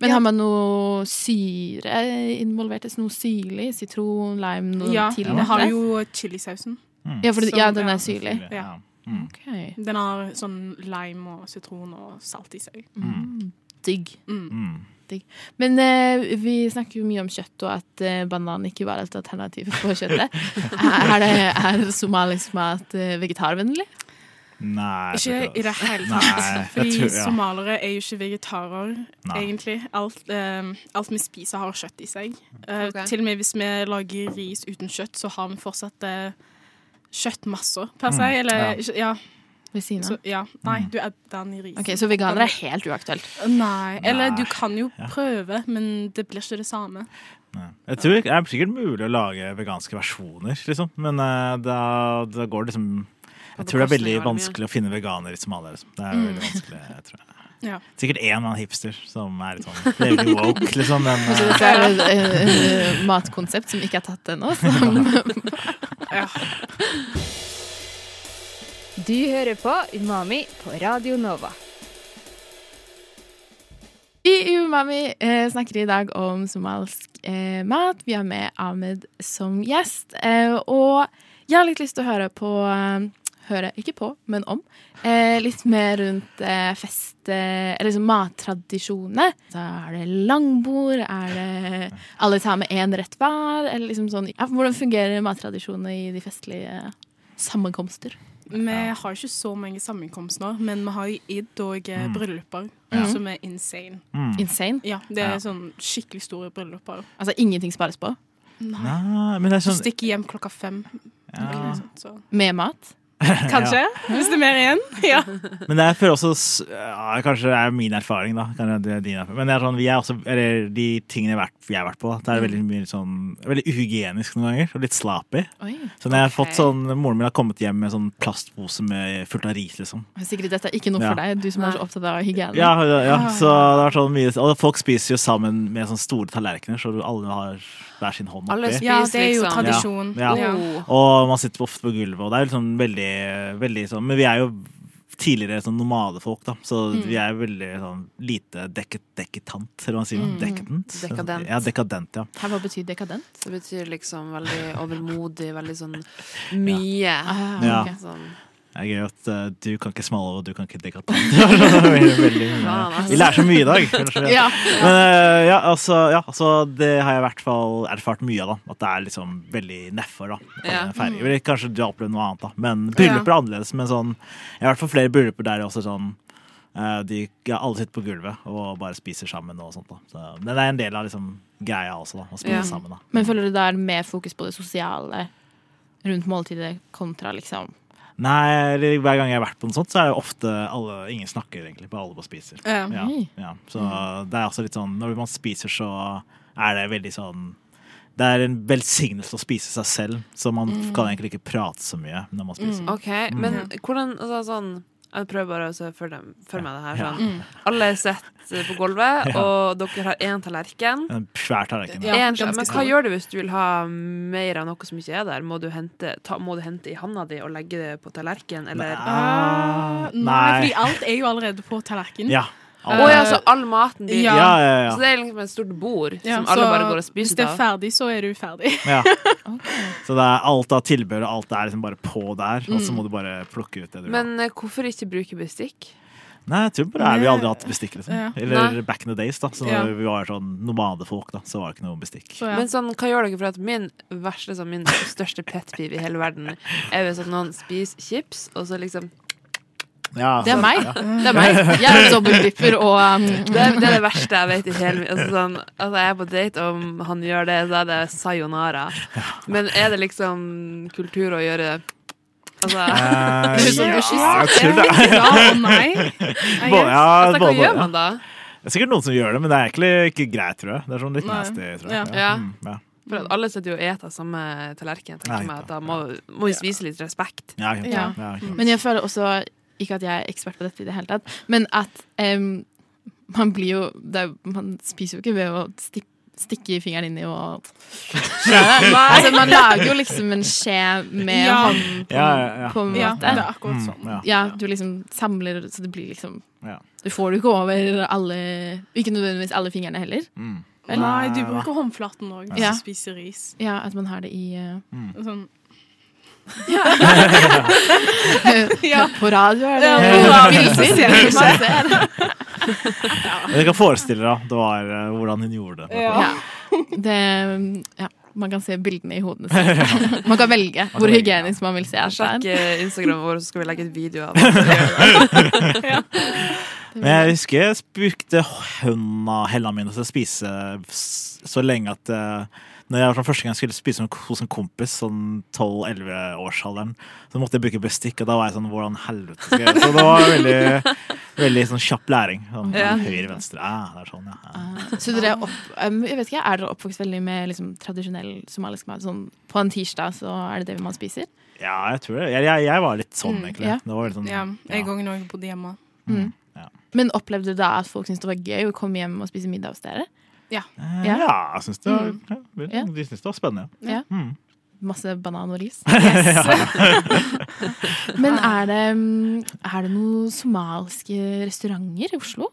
[SPEAKER 1] Men
[SPEAKER 3] Ja.
[SPEAKER 1] har man noe syre involvert? Altså Noe syrlig? Sitron, lime, noe
[SPEAKER 3] Ja,
[SPEAKER 1] til?
[SPEAKER 3] vi har
[SPEAKER 1] dette?
[SPEAKER 3] jo chilisausen.
[SPEAKER 1] ja, for, det- ja,
[SPEAKER 3] Som-
[SPEAKER 1] den
[SPEAKER 3] ja.
[SPEAKER 1] er syrlig.
[SPEAKER 4] Ja. Mm.
[SPEAKER 1] Ok.
[SPEAKER 3] Den har sånn lime og sitron og salt i seg.
[SPEAKER 1] Mm. Digg.
[SPEAKER 4] Mm.
[SPEAKER 1] Men eh, vi snakker jo mye om kjøtt, og at eh, banan ikke var et alternativ for kjøttet. er, er det, er somalisk mat eh, vegetarvennlig?
[SPEAKER 4] Nei, jeg tror
[SPEAKER 3] Ikke i det hele
[SPEAKER 4] Nei,
[SPEAKER 3] tatt.
[SPEAKER 4] jeg
[SPEAKER 3] Fordi
[SPEAKER 4] tror- ja.
[SPEAKER 3] somalere er jo ikke vegetarer,
[SPEAKER 4] Nei.
[SPEAKER 3] egentlig. Alt, eh, alt vi spiser, har kjøtt i seg.
[SPEAKER 4] Mm.
[SPEAKER 3] Eh,
[SPEAKER 2] Ok.
[SPEAKER 3] Til og med hvis vi lager ris uten kjøtt, så har vi fortsatt eh, kjøttmasser, per se.
[SPEAKER 4] Mm,
[SPEAKER 3] Eller
[SPEAKER 4] ja. Mm.
[SPEAKER 3] ikke- ja.
[SPEAKER 1] Ved siden
[SPEAKER 3] Så,
[SPEAKER 1] av?
[SPEAKER 3] ja. Nei, du adder den i risen. Eh,
[SPEAKER 1] Ok, Så veganer er helt uaktuelt.
[SPEAKER 3] Nei. Eller
[SPEAKER 4] Nei.
[SPEAKER 3] du kan jo prøve, men det blir ikke det samme.
[SPEAKER 4] Nei. Jeg tror Det er sikkert mulig å lage veganske versjoner, liksom. men eh, da, da går det liksom Jeg tror det er
[SPEAKER 2] bekostning av
[SPEAKER 4] veldig
[SPEAKER 2] det mye.
[SPEAKER 4] vanskelig å finne veganer i Somalia. Liksom. Det er veldig vanskelig, jeg tror jeg.
[SPEAKER 3] Ja.
[SPEAKER 4] Sikkert én annen hipster som er litt sånn veldig woke, liksom. Men eh,
[SPEAKER 1] Så er det et eh, matkonsept som ikke er tatt ennå. som-
[SPEAKER 6] Du hører på Umami på Radio Nova.
[SPEAKER 1] I Umami eh, snakker vi i dag om somalisk eh, mat. Vi har med Ahmed som gjest. Eh, og jeg har litt lyst til å høre på eh, Høre, ikke på, men om. Eh, litt mer rundt eh, fest... Eh, eller liksom mattradisjonene. Så er det langbord? Er det alle tar med én rett hver? Eller liksom sånn ja, Hvordan fungerer mattradisjonene i de festlige sammenkomster?
[SPEAKER 3] Vi har ikke så mange sammenkomster, men vi har jo id og
[SPEAKER 4] Mm.
[SPEAKER 3] eh, brylluper, som er insane.
[SPEAKER 1] Insane.
[SPEAKER 3] Ja, det er
[SPEAKER 4] Ja.
[SPEAKER 3] sånn skikkelig store brylluper.
[SPEAKER 1] Altså ingenting spares på.
[SPEAKER 4] eh, nei, men det er
[SPEAKER 3] Du
[SPEAKER 4] sånn
[SPEAKER 3] stikker hjem klokka fem. eller noe sånt, så.
[SPEAKER 1] Med mat.
[SPEAKER 3] Kanskje, hvis det er mer igjen. Ja.
[SPEAKER 4] Men jeg føler også s- ja, Kanskje det er min erfaring, da. Kanskje det er din erfaring. Men det er sånn, vi er også, eller de tingene jeg har vært, jeg har vært på, da, det er veldig mye sånn Veldig uhygienisk noen ganger, og litt sloppy.
[SPEAKER 1] Oi.
[SPEAKER 4] Så når jeg har
[SPEAKER 2] Ok.
[SPEAKER 4] fått sånn, Moren min har kommet hjem med sånn plastpose med fullt av ris, liksom.
[SPEAKER 1] Sigrid, dette er ikke noe for
[SPEAKER 4] Ja.
[SPEAKER 1] deg, du som er så opptatt av hygiene.
[SPEAKER 4] Ja, ja, ja.
[SPEAKER 2] Ah.
[SPEAKER 4] Så det har vært sånn mye Og folk spiser jo sammen med sånne store tallerkener, så alle har hver sin hånd
[SPEAKER 2] Alle
[SPEAKER 4] oppi.
[SPEAKER 2] spiser
[SPEAKER 3] ja, det er jo
[SPEAKER 2] liksom.
[SPEAKER 3] tradisjon.
[SPEAKER 4] Ja.
[SPEAKER 3] Ja.
[SPEAKER 2] Oh.
[SPEAKER 4] Og man sitter ofte på gulvet, og det er jo liksom veldig, veldig sånn Men vi er jo tidligere sånn nomadefolk, da, så
[SPEAKER 2] Mm.
[SPEAKER 4] vi er jo veldig sånn lite deket, deketant, eller hva man sier. Dekadent.
[SPEAKER 2] Mm. Dekadent.
[SPEAKER 4] Ja, dekadent, ja.
[SPEAKER 1] Her, hva betyr dekadent?
[SPEAKER 2] Det betyr liksom veldig overmodig, veldig sånn mye.
[SPEAKER 1] Ah,
[SPEAKER 4] Ja.
[SPEAKER 1] ok.
[SPEAKER 2] Sånn.
[SPEAKER 4] Det er gøy at eh, du kan ikke smalle, og du kan ikke degatant. Veldig mye. Vi lærer så mye i dag. ellers så-
[SPEAKER 1] Ja.
[SPEAKER 4] Men eh, ja, altså, ja, altså det har jeg i hvert fall erfart mye av, da. At det er liksom veldig nedfor, da.
[SPEAKER 2] Ja.
[SPEAKER 4] Feiringer. Eller Kanskje du har opplevd noe annet, da. Men bryllup er annerledes. Men sånn, jeg har i hvert fall flere brylluper der det også er sånn eh, de, ja, Alle sitter på gulvet og bare spiser sammen og sånt. da så, Men det er en del av liksom greia også, da. Å spise
[SPEAKER 2] Ja.
[SPEAKER 4] sammen, da.
[SPEAKER 1] Men føler du det er mer fokus på det sosiale rundt måltidet kontra liksom
[SPEAKER 4] Nei, eller hver gang jeg har vært på noe sånt, så er det ofte alle, ingen snakker egentlig, bare alle bare spiser.
[SPEAKER 3] Ja.
[SPEAKER 4] Ja, ja. Så det er også litt sånn, når man spiser så er det veldig sånn, det er en velsignelse å spise seg selv, så man kan egentlig ikke prate så mye når man
[SPEAKER 3] Mm.
[SPEAKER 4] spiser.
[SPEAKER 2] OK, men hvordan altså, sånn, Jeg prøver bare å se for, dem, for meg det her. Sånn.
[SPEAKER 3] Mm.
[SPEAKER 2] Alle sitter på gulvet,
[SPEAKER 4] Ja.
[SPEAKER 2] og dere har én tallerken.
[SPEAKER 4] En svær tallerken.
[SPEAKER 3] Ja,
[SPEAKER 2] En-
[SPEAKER 3] ganske
[SPEAKER 2] men hva
[SPEAKER 3] stor.
[SPEAKER 2] gjør du hvis du vil ha mer av noe som ikke er der? Må du hente, ta, må du hente i handa di og legge det på tallerken, eller?
[SPEAKER 3] Ah, nei,
[SPEAKER 4] Nei.
[SPEAKER 3] fordi alt er jo allerede på tallerkenen.
[SPEAKER 4] Ja.
[SPEAKER 2] Å ja, så all maten din.
[SPEAKER 3] Ja.
[SPEAKER 4] Ja, ja, ja.
[SPEAKER 2] Så det er liksom et stort bord
[SPEAKER 3] Ja,
[SPEAKER 2] som alle
[SPEAKER 3] så
[SPEAKER 2] bare går og
[SPEAKER 3] Hvis
[SPEAKER 2] spiser
[SPEAKER 3] det er
[SPEAKER 2] av.
[SPEAKER 3] ferdig, så er du ferdig.
[SPEAKER 4] Ja. Så det er alt av tilbehør og alt er liksom bare på der, og så må du bare plukke ut det du vil.
[SPEAKER 2] Men eh, hvorfor ikke bruke bestikk?
[SPEAKER 4] Nei, jeg tror bare det er vi aldri hatt bestikk, liksom.
[SPEAKER 3] Ja.
[SPEAKER 4] Eller
[SPEAKER 2] Nei.
[SPEAKER 4] back in the days, da. Så
[SPEAKER 3] Ja.
[SPEAKER 4] når vi var sånn nomadefolk, da, så var det ikke noe bestikk.
[SPEAKER 3] Så ja.
[SPEAKER 2] Men sånn, hva gjør dere for at min verste, sånn, min største pet peeve i hele verden er hvis at noen spiser chips, og så liksom
[SPEAKER 4] Altså, Ja,
[SPEAKER 1] Det er
[SPEAKER 4] så-
[SPEAKER 1] meg. Det er meg. Jeg er dobbeltdipper og um,
[SPEAKER 2] det, er- det er det verste jeg vet i hele mitt altså, sånn, altså, jeg er på date, og han gjør det, så er det sayonara. Men er det liksom kultur å gjøre Altså
[SPEAKER 4] Eh,
[SPEAKER 2] Det er sånn du
[SPEAKER 4] ja, jeg tror det.
[SPEAKER 3] Ja og nei. I guess.
[SPEAKER 4] Både, ja,
[SPEAKER 2] Altså, hva
[SPEAKER 4] både,
[SPEAKER 2] gjør
[SPEAKER 4] ja.
[SPEAKER 2] man da?
[SPEAKER 4] Det er sikkert noen som gjør det, men det er egentlig ikke greit, tror jeg. Det er sånn litt
[SPEAKER 3] Nei.
[SPEAKER 4] nasty, tror jeg.
[SPEAKER 3] Ja.
[SPEAKER 2] Ja.
[SPEAKER 4] Mm, ja.
[SPEAKER 2] For at alle sitter jo og eter samme tallerken.
[SPEAKER 4] Nei,
[SPEAKER 2] Tenker jeg meg at Da må, må vi vise litt respekt.
[SPEAKER 4] Ja, ok.
[SPEAKER 1] Ja. Mm.
[SPEAKER 4] Ja, ok.
[SPEAKER 1] Men jeg føler også Ikke at jeg er ekspert på dette i det hele tatt, men at em, man blir jo det, er- Man spiser jo ikke ved å sti- stikke fingeren inn i og Altså, man lager jo liksom en skje med
[SPEAKER 3] Ja.
[SPEAKER 1] hånden på,
[SPEAKER 4] Ja, ja, ja.
[SPEAKER 1] på en
[SPEAKER 3] Ja, det
[SPEAKER 1] måte.
[SPEAKER 3] er akkurat
[SPEAKER 4] Mm,
[SPEAKER 3] sånn.
[SPEAKER 4] ja.
[SPEAKER 1] Ja, du liksom samler, så det blir liksom
[SPEAKER 4] Ja.
[SPEAKER 1] Du får det jo ikke over alle Ikke nødvendigvis alle fingrene heller.
[SPEAKER 4] Mm.
[SPEAKER 1] Vel?
[SPEAKER 3] Nei, du bruker håndflaten òg hvis
[SPEAKER 1] Ja.
[SPEAKER 3] du spiser ris.
[SPEAKER 1] Ja, at man har det i eh,
[SPEAKER 3] Sånn.
[SPEAKER 1] på,
[SPEAKER 4] Mm,
[SPEAKER 1] på radio, er det
[SPEAKER 3] Ja,
[SPEAKER 1] ja,
[SPEAKER 4] Men Jeg kan forestille deg da, det var, eh, hvordan hun gjorde det.
[SPEAKER 3] Ja.
[SPEAKER 1] Det, ja, man kan se bildene i hodene sine. Man kan velge hvor
[SPEAKER 4] velge,
[SPEAKER 1] hygienisk man vil se. at
[SPEAKER 2] Sjekk
[SPEAKER 1] det er.
[SPEAKER 2] eh, Instagram vår, så skal vi legge ut video av det.
[SPEAKER 4] Men jeg husker jeg brukte hønda, hella mine til å spise s- så lenge at eh, når jeg var sånn første gang skulle spise med- hos en kompis, sånn 12-11-årsalderen, så måtte jeg bruke bestikk, og da var jeg sånn Hvordan helvete skal jeg gjøre det? Så det var veldig, veldig sånn kjapp læring. Sånn,
[SPEAKER 2] Ja.
[SPEAKER 4] Høyre-venstre. Ah, det er sånn, ja. ja.
[SPEAKER 1] Ah. Så dere er opp, um, jeg vet ikke, er dere oppvokst veldig med liksom, tradisjonell somalisk mat? Sånn, på en tirsdag så er det det man spiser?
[SPEAKER 4] Ja, jeg tror det. Jeg, jeg, jeg var litt sånn, egentlig.
[SPEAKER 1] ja.
[SPEAKER 4] Det var litt sånn,
[SPEAKER 3] Mm, Ja,
[SPEAKER 4] ja.
[SPEAKER 3] jeg òg når jeg bodde hjemme.
[SPEAKER 1] Men opplevde dere da at folk syntes det var gøy å komme hjem og spise middag hos dere?
[SPEAKER 4] Eh,
[SPEAKER 1] Ja.
[SPEAKER 4] Ja, jeg syns det,
[SPEAKER 3] Mm.
[SPEAKER 4] var- ja,
[SPEAKER 1] Ja.
[SPEAKER 4] de syntes det var spennende. ja.
[SPEAKER 1] Ja.
[SPEAKER 4] Mm.
[SPEAKER 1] Masse banan og ris.
[SPEAKER 3] Yes.
[SPEAKER 1] Men er det, um, er det noen somaliske restauranter i Oslo?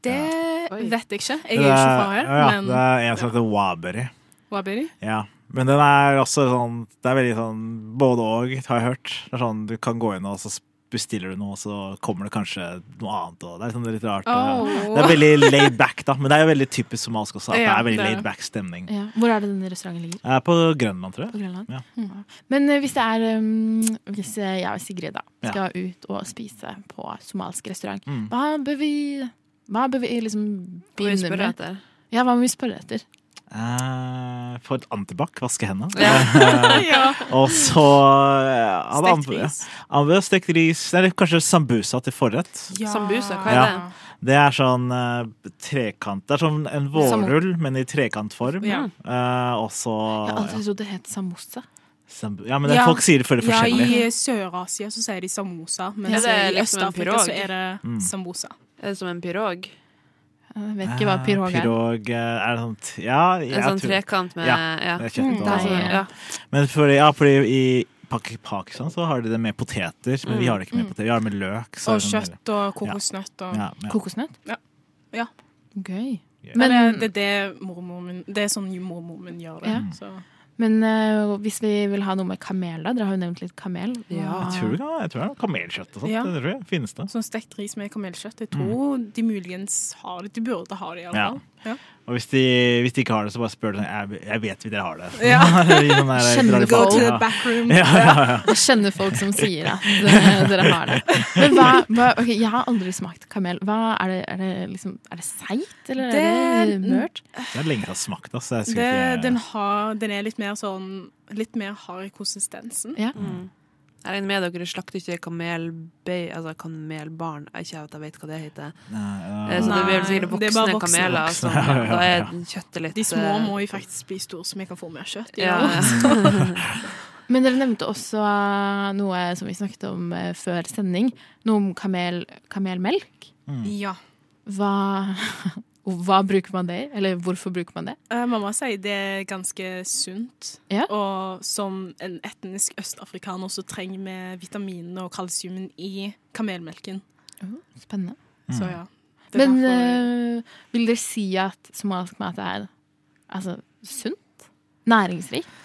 [SPEAKER 3] Det
[SPEAKER 2] Oi.
[SPEAKER 3] vet jeg ikke. Jeg er jo ikke fra her,
[SPEAKER 4] Eh, ja,
[SPEAKER 3] men
[SPEAKER 4] Det er en som heter Waberi.
[SPEAKER 3] hva blir det?
[SPEAKER 4] Ja. Men den er også sånn Det er veldig sånn både og, har jeg hørt. Det er sånn, Du kan gå inn og så bestiller du noe, og så kommer det kanskje noe annet. Og det er sånn litt rart.
[SPEAKER 3] Oh.
[SPEAKER 4] Det er veldig laid back, da. Men det er jo veldig typisk somalisk også. At det
[SPEAKER 3] Ja,
[SPEAKER 4] er veldig
[SPEAKER 3] det er det.
[SPEAKER 4] laid back stemning.
[SPEAKER 1] Ja. Hvor er det denne restauranten ligger?
[SPEAKER 4] Jeg er på Grønland, tror jeg.
[SPEAKER 1] På Grønland?
[SPEAKER 4] Ja.
[SPEAKER 1] Mm. Men eh, hvis det er um, Hvis eh, jeg og Sigrid da
[SPEAKER 4] Ja.
[SPEAKER 1] skal ut og spise på somalisk restaurant,
[SPEAKER 4] Mm.
[SPEAKER 1] hva bør vi Hva bør vi liksom
[SPEAKER 2] Må vi
[SPEAKER 1] begynne
[SPEAKER 2] spørre
[SPEAKER 1] med?
[SPEAKER 2] etter.
[SPEAKER 1] Ja, hva må vi spørre etter?
[SPEAKER 4] Eh, Få et antibac, vaske hendene.
[SPEAKER 2] Ja.
[SPEAKER 3] Ja.
[SPEAKER 4] Og så eh, hadde
[SPEAKER 3] Stekt
[SPEAKER 4] han-
[SPEAKER 3] ris.
[SPEAKER 4] Han vil ha stekt ris, eller kanskje sambusa til forrett.
[SPEAKER 2] Sambusa, hva er
[SPEAKER 4] Ja. Det er sånn eh, trekant Det er sånn en vårrull, men i trekantform.
[SPEAKER 3] Ja.
[SPEAKER 4] Eh, og så
[SPEAKER 1] Jeg har
[SPEAKER 4] ja,
[SPEAKER 1] alltid trodd det het samosa.
[SPEAKER 4] sambu- ja, men det,
[SPEAKER 3] Ja.
[SPEAKER 4] folk sier det for det
[SPEAKER 3] Ja,
[SPEAKER 4] forskjellig.
[SPEAKER 3] i Sør-Asia så sier de samosa,
[SPEAKER 2] Ja,
[SPEAKER 3] mens
[SPEAKER 2] det er
[SPEAKER 3] i
[SPEAKER 2] liksom en
[SPEAKER 3] Øst-Afrika
[SPEAKER 2] pirog.
[SPEAKER 3] så er
[SPEAKER 4] Mm.
[SPEAKER 3] det sambosa.
[SPEAKER 2] Er det som en pirog?
[SPEAKER 1] Jeg vet ikke hva
[SPEAKER 4] Eh,
[SPEAKER 1] pirog er.
[SPEAKER 4] Pirog eh, er det sånt Ja,
[SPEAKER 2] En
[SPEAKER 4] jeg
[SPEAKER 2] sånn
[SPEAKER 4] tror
[SPEAKER 2] trekant med
[SPEAKER 4] Ja.
[SPEAKER 2] Ja.
[SPEAKER 4] det er kjøtt.
[SPEAKER 2] Det er
[SPEAKER 4] Og,
[SPEAKER 2] sånn,
[SPEAKER 1] Nei.
[SPEAKER 2] ja.
[SPEAKER 4] Men fordi, ja, fordi i Pak- Pakistan så har de det med poteter, men vi har det ikke med poteter. Vi har det med løk. så
[SPEAKER 3] Og
[SPEAKER 4] er det sånn
[SPEAKER 3] kjøtt og kokosnøtt og
[SPEAKER 4] veldig- Ja, ja.
[SPEAKER 1] Kokosnøtt?
[SPEAKER 3] Ja. Ja.
[SPEAKER 1] Gøy.
[SPEAKER 4] Gøy.
[SPEAKER 3] Men eh,
[SPEAKER 1] Men,
[SPEAKER 4] Mm.
[SPEAKER 3] det, det er det mormoren min Det er sånn mormoren min gjør det.
[SPEAKER 1] Ja.
[SPEAKER 3] Så.
[SPEAKER 1] Men eh, hvis vi vil ha noe med kamel, da? Dere har jo nevnt litt kamel. Hva-
[SPEAKER 2] Ja.
[SPEAKER 4] Jeg tror det, kan- jeg tror det er kamelkjøtt og sånt.
[SPEAKER 3] Ja.
[SPEAKER 4] Det tror jeg finnes det.
[SPEAKER 3] Sånn stekt ris med kamelkjøtt. Jeg
[SPEAKER 4] Mm.
[SPEAKER 3] tror de muligens har det. De burde ha det, iallfall. Ja.
[SPEAKER 4] Og hvis de, hvis de ikke har det, så bare spør de sånn Jeg, jeg vet vi dere har det.
[SPEAKER 3] Ja.
[SPEAKER 4] I sånn der-
[SPEAKER 1] Kjenner
[SPEAKER 3] Go
[SPEAKER 1] folk.
[SPEAKER 3] to the
[SPEAKER 4] Ja.
[SPEAKER 3] backroom.
[SPEAKER 4] Ja, ja, ja.
[SPEAKER 1] Jeg kjenner folk som sier at eh, dere har det. Men hva, hva ok, Jeg har aldri smakt kamel. Hva er det, er det, liksom, er det seigt, eller er det
[SPEAKER 3] Det-
[SPEAKER 1] mørt?
[SPEAKER 4] Det er lenge siden jeg har smakt, altså. Jeg
[SPEAKER 3] Det,
[SPEAKER 4] skulle
[SPEAKER 3] den,
[SPEAKER 4] ikke
[SPEAKER 3] har, den er litt mer sånn Litt mer hard i konsistensen.
[SPEAKER 1] Ja.
[SPEAKER 2] Mm. Jeg regner med dere slakter ikke kamelbei, altså kamelbarn. Ikke at jeg vet hva det heter.
[SPEAKER 4] Nei,
[SPEAKER 2] Eh,
[SPEAKER 4] ja.
[SPEAKER 2] Så det blir vel sikkert
[SPEAKER 3] Nei, det er
[SPEAKER 2] voksne,
[SPEAKER 3] bare voksne.
[SPEAKER 2] kameler.
[SPEAKER 4] Voksne,
[SPEAKER 2] Som,
[SPEAKER 4] ja, ja, ja.
[SPEAKER 2] da er kjøttet litt
[SPEAKER 3] De små
[SPEAKER 2] eh,
[SPEAKER 3] må jo faktisk bli store, så vi kan få mer kjøtt. i
[SPEAKER 2] ja,
[SPEAKER 3] år.
[SPEAKER 2] ja.
[SPEAKER 1] Men dere nevnte også eh, noe som vi snakket om eh, før sending. Noe om kamel, kamelmelk.
[SPEAKER 4] Mm.
[SPEAKER 3] ja.
[SPEAKER 1] Hva, hva bruker man det i? Eller hvorfor bruker man det?
[SPEAKER 3] Eh, mamma sier det er ganske sunt.
[SPEAKER 1] Ja.
[SPEAKER 3] Og som en etnisk østafrikaner så trenger vi vitaminene og kalsiumen i kamelmelken.
[SPEAKER 1] Spennende.
[SPEAKER 4] Mm.
[SPEAKER 3] Så ja. Det er
[SPEAKER 1] Men
[SPEAKER 3] derfor-
[SPEAKER 1] eh, vil dere si at somalisk mat er altså, sunt? Næringsrikt?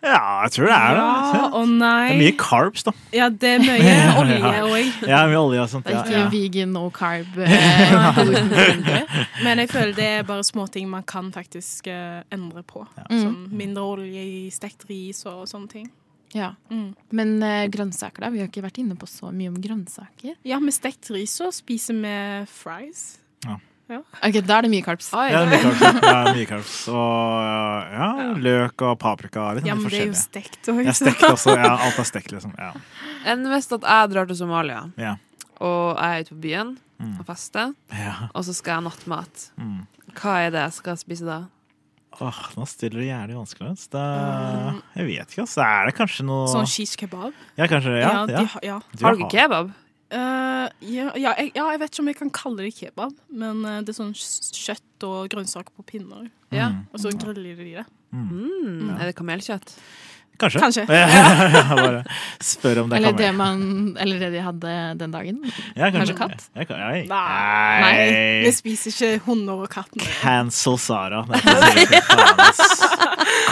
[SPEAKER 4] ja, jeg tror det er det.
[SPEAKER 3] ja,
[SPEAKER 4] altså.
[SPEAKER 3] Å
[SPEAKER 4] Det er
[SPEAKER 3] nei.
[SPEAKER 4] mye carbs, da.
[SPEAKER 3] Ja, det er mye olje
[SPEAKER 4] Ja.
[SPEAKER 3] òg.
[SPEAKER 4] Ja, mye olje og sånt.
[SPEAKER 1] Det er
[SPEAKER 4] Ja,
[SPEAKER 1] ikke
[SPEAKER 4] ja.
[SPEAKER 1] vegan, no carb? eh, glutenfri?
[SPEAKER 3] Men jeg føler det er bare småting man kan faktisk eh, endre på.
[SPEAKER 1] mm.
[SPEAKER 3] Som mindre olje i stekt ris og sånne ting.
[SPEAKER 1] ja.
[SPEAKER 3] Mm.
[SPEAKER 1] Men eh, grønnsaker, da? Vi har ikke vært inne på så mye om grønnsaker.
[SPEAKER 3] Ja, med stekt ris så spiser vi fries.
[SPEAKER 1] Ok, Da er det mye carbs.
[SPEAKER 4] Ja, det er mye carbs. Ja, det er mye carbs. Og ja, løk og paprika. Liksom,
[SPEAKER 3] Ja,
[SPEAKER 4] litt
[SPEAKER 3] men det er jo
[SPEAKER 4] forskjellig.
[SPEAKER 3] stekt òg.
[SPEAKER 4] Jeg stekt også. Ja, alt er stekt, liksom. Ja.
[SPEAKER 2] Enn hvis at jeg drar til Somalia,
[SPEAKER 4] Ja.
[SPEAKER 2] og jeg er ute på byen og fester,
[SPEAKER 4] ja.
[SPEAKER 2] og så skal jeg ha nattmat.
[SPEAKER 4] Mm.
[SPEAKER 2] Hva er det jeg skal spise da?
[SPEAKER 4] Åh, nå stiller du jævlig vanskelig. ass. Det, jeg vet ikke, ass. Er det kanskje noe
[SPEAKER 3] Mm. Sånn cheese kebab.
[SPEAKER 4] Ja, kanskje det. Ja,
[SPEAKER 3] Ja,
[SPEAKER 4] ja. Mm.
[SPEAKER 3] de, har- ja.
[SPEAKER 4] Du
[SPEAKER 2] Har dere kebab?
[SPEAKER 3] Eh, ja, ja, jeg, ja, jeg vet ikke om jeg kan kalle det kebab, men eh, det er sånn s- kjøtt og grønnsaker på pinner.
[SPEAKER 2] Ja.
[SPEAKER 3] Og så griller de det.
[SPEAKER 2] Mm. Er det kamelkjøtt?
[SPEAKER 4] Kanskje.
[SPEAKER 3] Kanskje.
[SPEAKER 4] Bare spør om det
[SPEAKER 1] Eller
[SPEAKER 4] kan
[SPEAKER 1] det,
[SPEAKER 4] være.
[SPEAKER 1] man, eller det de hadde den dagen.
[SPEAKER 4] Ja,
[SPEAKER 1] kanskje katt?
[SPEAKER 4] Ja, kan, nei.
[SPEAKER 3] Nei, vi
[SPEAKER 4] Nei.
[SPEAKER 3] spiser ikke hunder og katten.
[SPEAKER 4] Cancel Sara. Det er ikke sikkert. Faen, ass.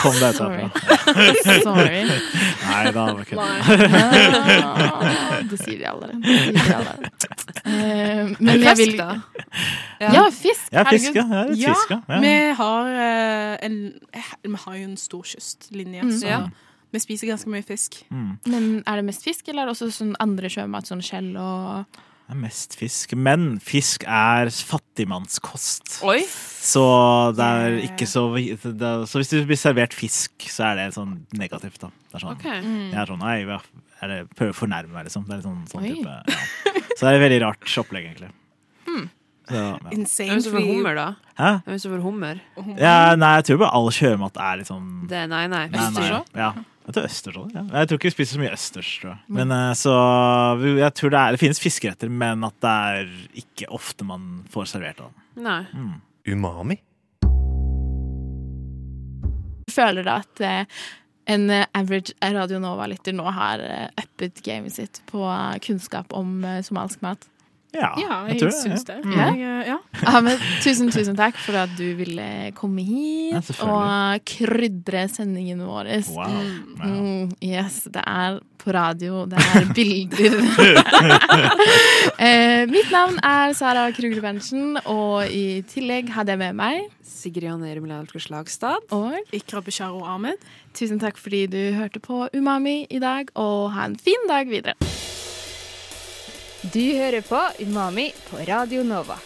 [SPEAKER 4] Kom deg ut
[SPEAKER 1] Sorry.
[SPEAKER 4] herfra.
[SPEAKER 1] Sorry.
[SPEAKER 4] Nei da, det var ikke det.
[SPEAKER 1] Ja, det sier de alle. Det sier de alle. Eh, men jeg vil
[SPEAKER 2] Fisk, da?
[SPEAKER 1] Ja, fisk!
[SPEAKER 4] Ja,
[SPEAKER 1] herregud.
[SPEAKER 4] fiska. Ja, litt
[SPEAKER 3] Ja,
[SPEAKER 4] fiska. Ja.
[SPEAKER 3] Vi har, eh, en, eh, vi har jo en stor kystlinje,
[SPEAKER 4] Mm.
[SPEAKER 3] så
[SPEAKER 2] Ja.
[SPEAKER 3] vi spiser ganske mye fisk.
[SPEAKER 1] Men er det mest fisk, eller er det også sånn andre sjømat, sånn skjell og
[SPEAKER 4] Det er mest fisk. Men fisk er fattigmannskost.
[SPEAKER 2] Oi!
[SPEAKER 4] Så det er ikke så vi- det er, Så hvis du blir servert fisk, så er det sånn negativt, da. Det er sånn,
[SPEAKER 2] Ok.
[SPEAKER 3] Mm.
[SPEAKER 4] jeg er sånn Nei, hva- er det, prøver å fornærme meg, liksom. Det er litt sånn, sånn
[SPEAKER 1] Oi.
[SPEAKER 4] type ja. Så det er et veldig rart opplegg, egentlig. Så, ja.
[SPEAKER 3] Insane.
[SPEAKER 2] Hvem som får
[SPEAKER 3] fordi-
[SPEAKER 2] hummer, da?
[SPEAKER 4] Hæ?
[SPEAKER 2] Hvem som får hummer?
[SPEAKER 4] Ja, nei, jeg tror bare all sjømat er litt sånn
[SPEAKER 2] Det er nei, nei.
[SPEAKER 4] Nei, nei,
[SPEAKER 2] Østersjå?
[SPEAKER 4] Ja. Jeg tror østers også, ja. Jeg tror ikke vi spiser så mye østers, tror jeg. Men eh, så Jeg tror det, er, det finnes fiskeretter, men at det er ikke ofte man får servert av dem.
[SPEAKER 2] Nei.
[SPEAKER 5] Umami?
[SPEAKER 1] Føler dere at eh, en eh, average Radio Nova-lytter nå har eh, uppet gamet sitt på eh, kunnskap om eh, somalisk mat? Mm.
[SPEAKER 4] Ja,
[SPEAKER 3] Ja,
[SPEAKER 4] jeg
[SPEAKER 3] jeg,
[SPEAKER 4] tror
[SPEAKER 3] syns
[SPEAKER 4] det.
[SPEAKER 3] det.
[SPEAKER 1] Ja.
[SPEAKER 3] Jeg, eh, ja.
[SPEAKER 1] Ahmed, tusen, tusen takk for at du ville komme
[SPEAKER 4] Ja,
[SPEAKER 1] hit
[SPEAKER 4] selvfølgelig.
[SPEAKER 1] og eh, krydre sendingen vår.
[SPEAKER 4] ja. Wow. Ja.
[SPEAKER 1] Mm, yes, det er på radio, det er bilder. eh, mitt navn er Sara Krugle Berntsen, og i tillegg hadde jeg med meg
[SPEAKER 2] Sigrid Janne Irmelin Alker Slagstad.
[SPEAKER 1] og
[SPEAKER 3] Ikra Bisharo Ahmed.
[SPEAKER 1] Tusen takk fordi du hørte på Umami i dag, og ha en fin dag videre.
[SPEAKER 6] Du hører på Umami på Radio Nova.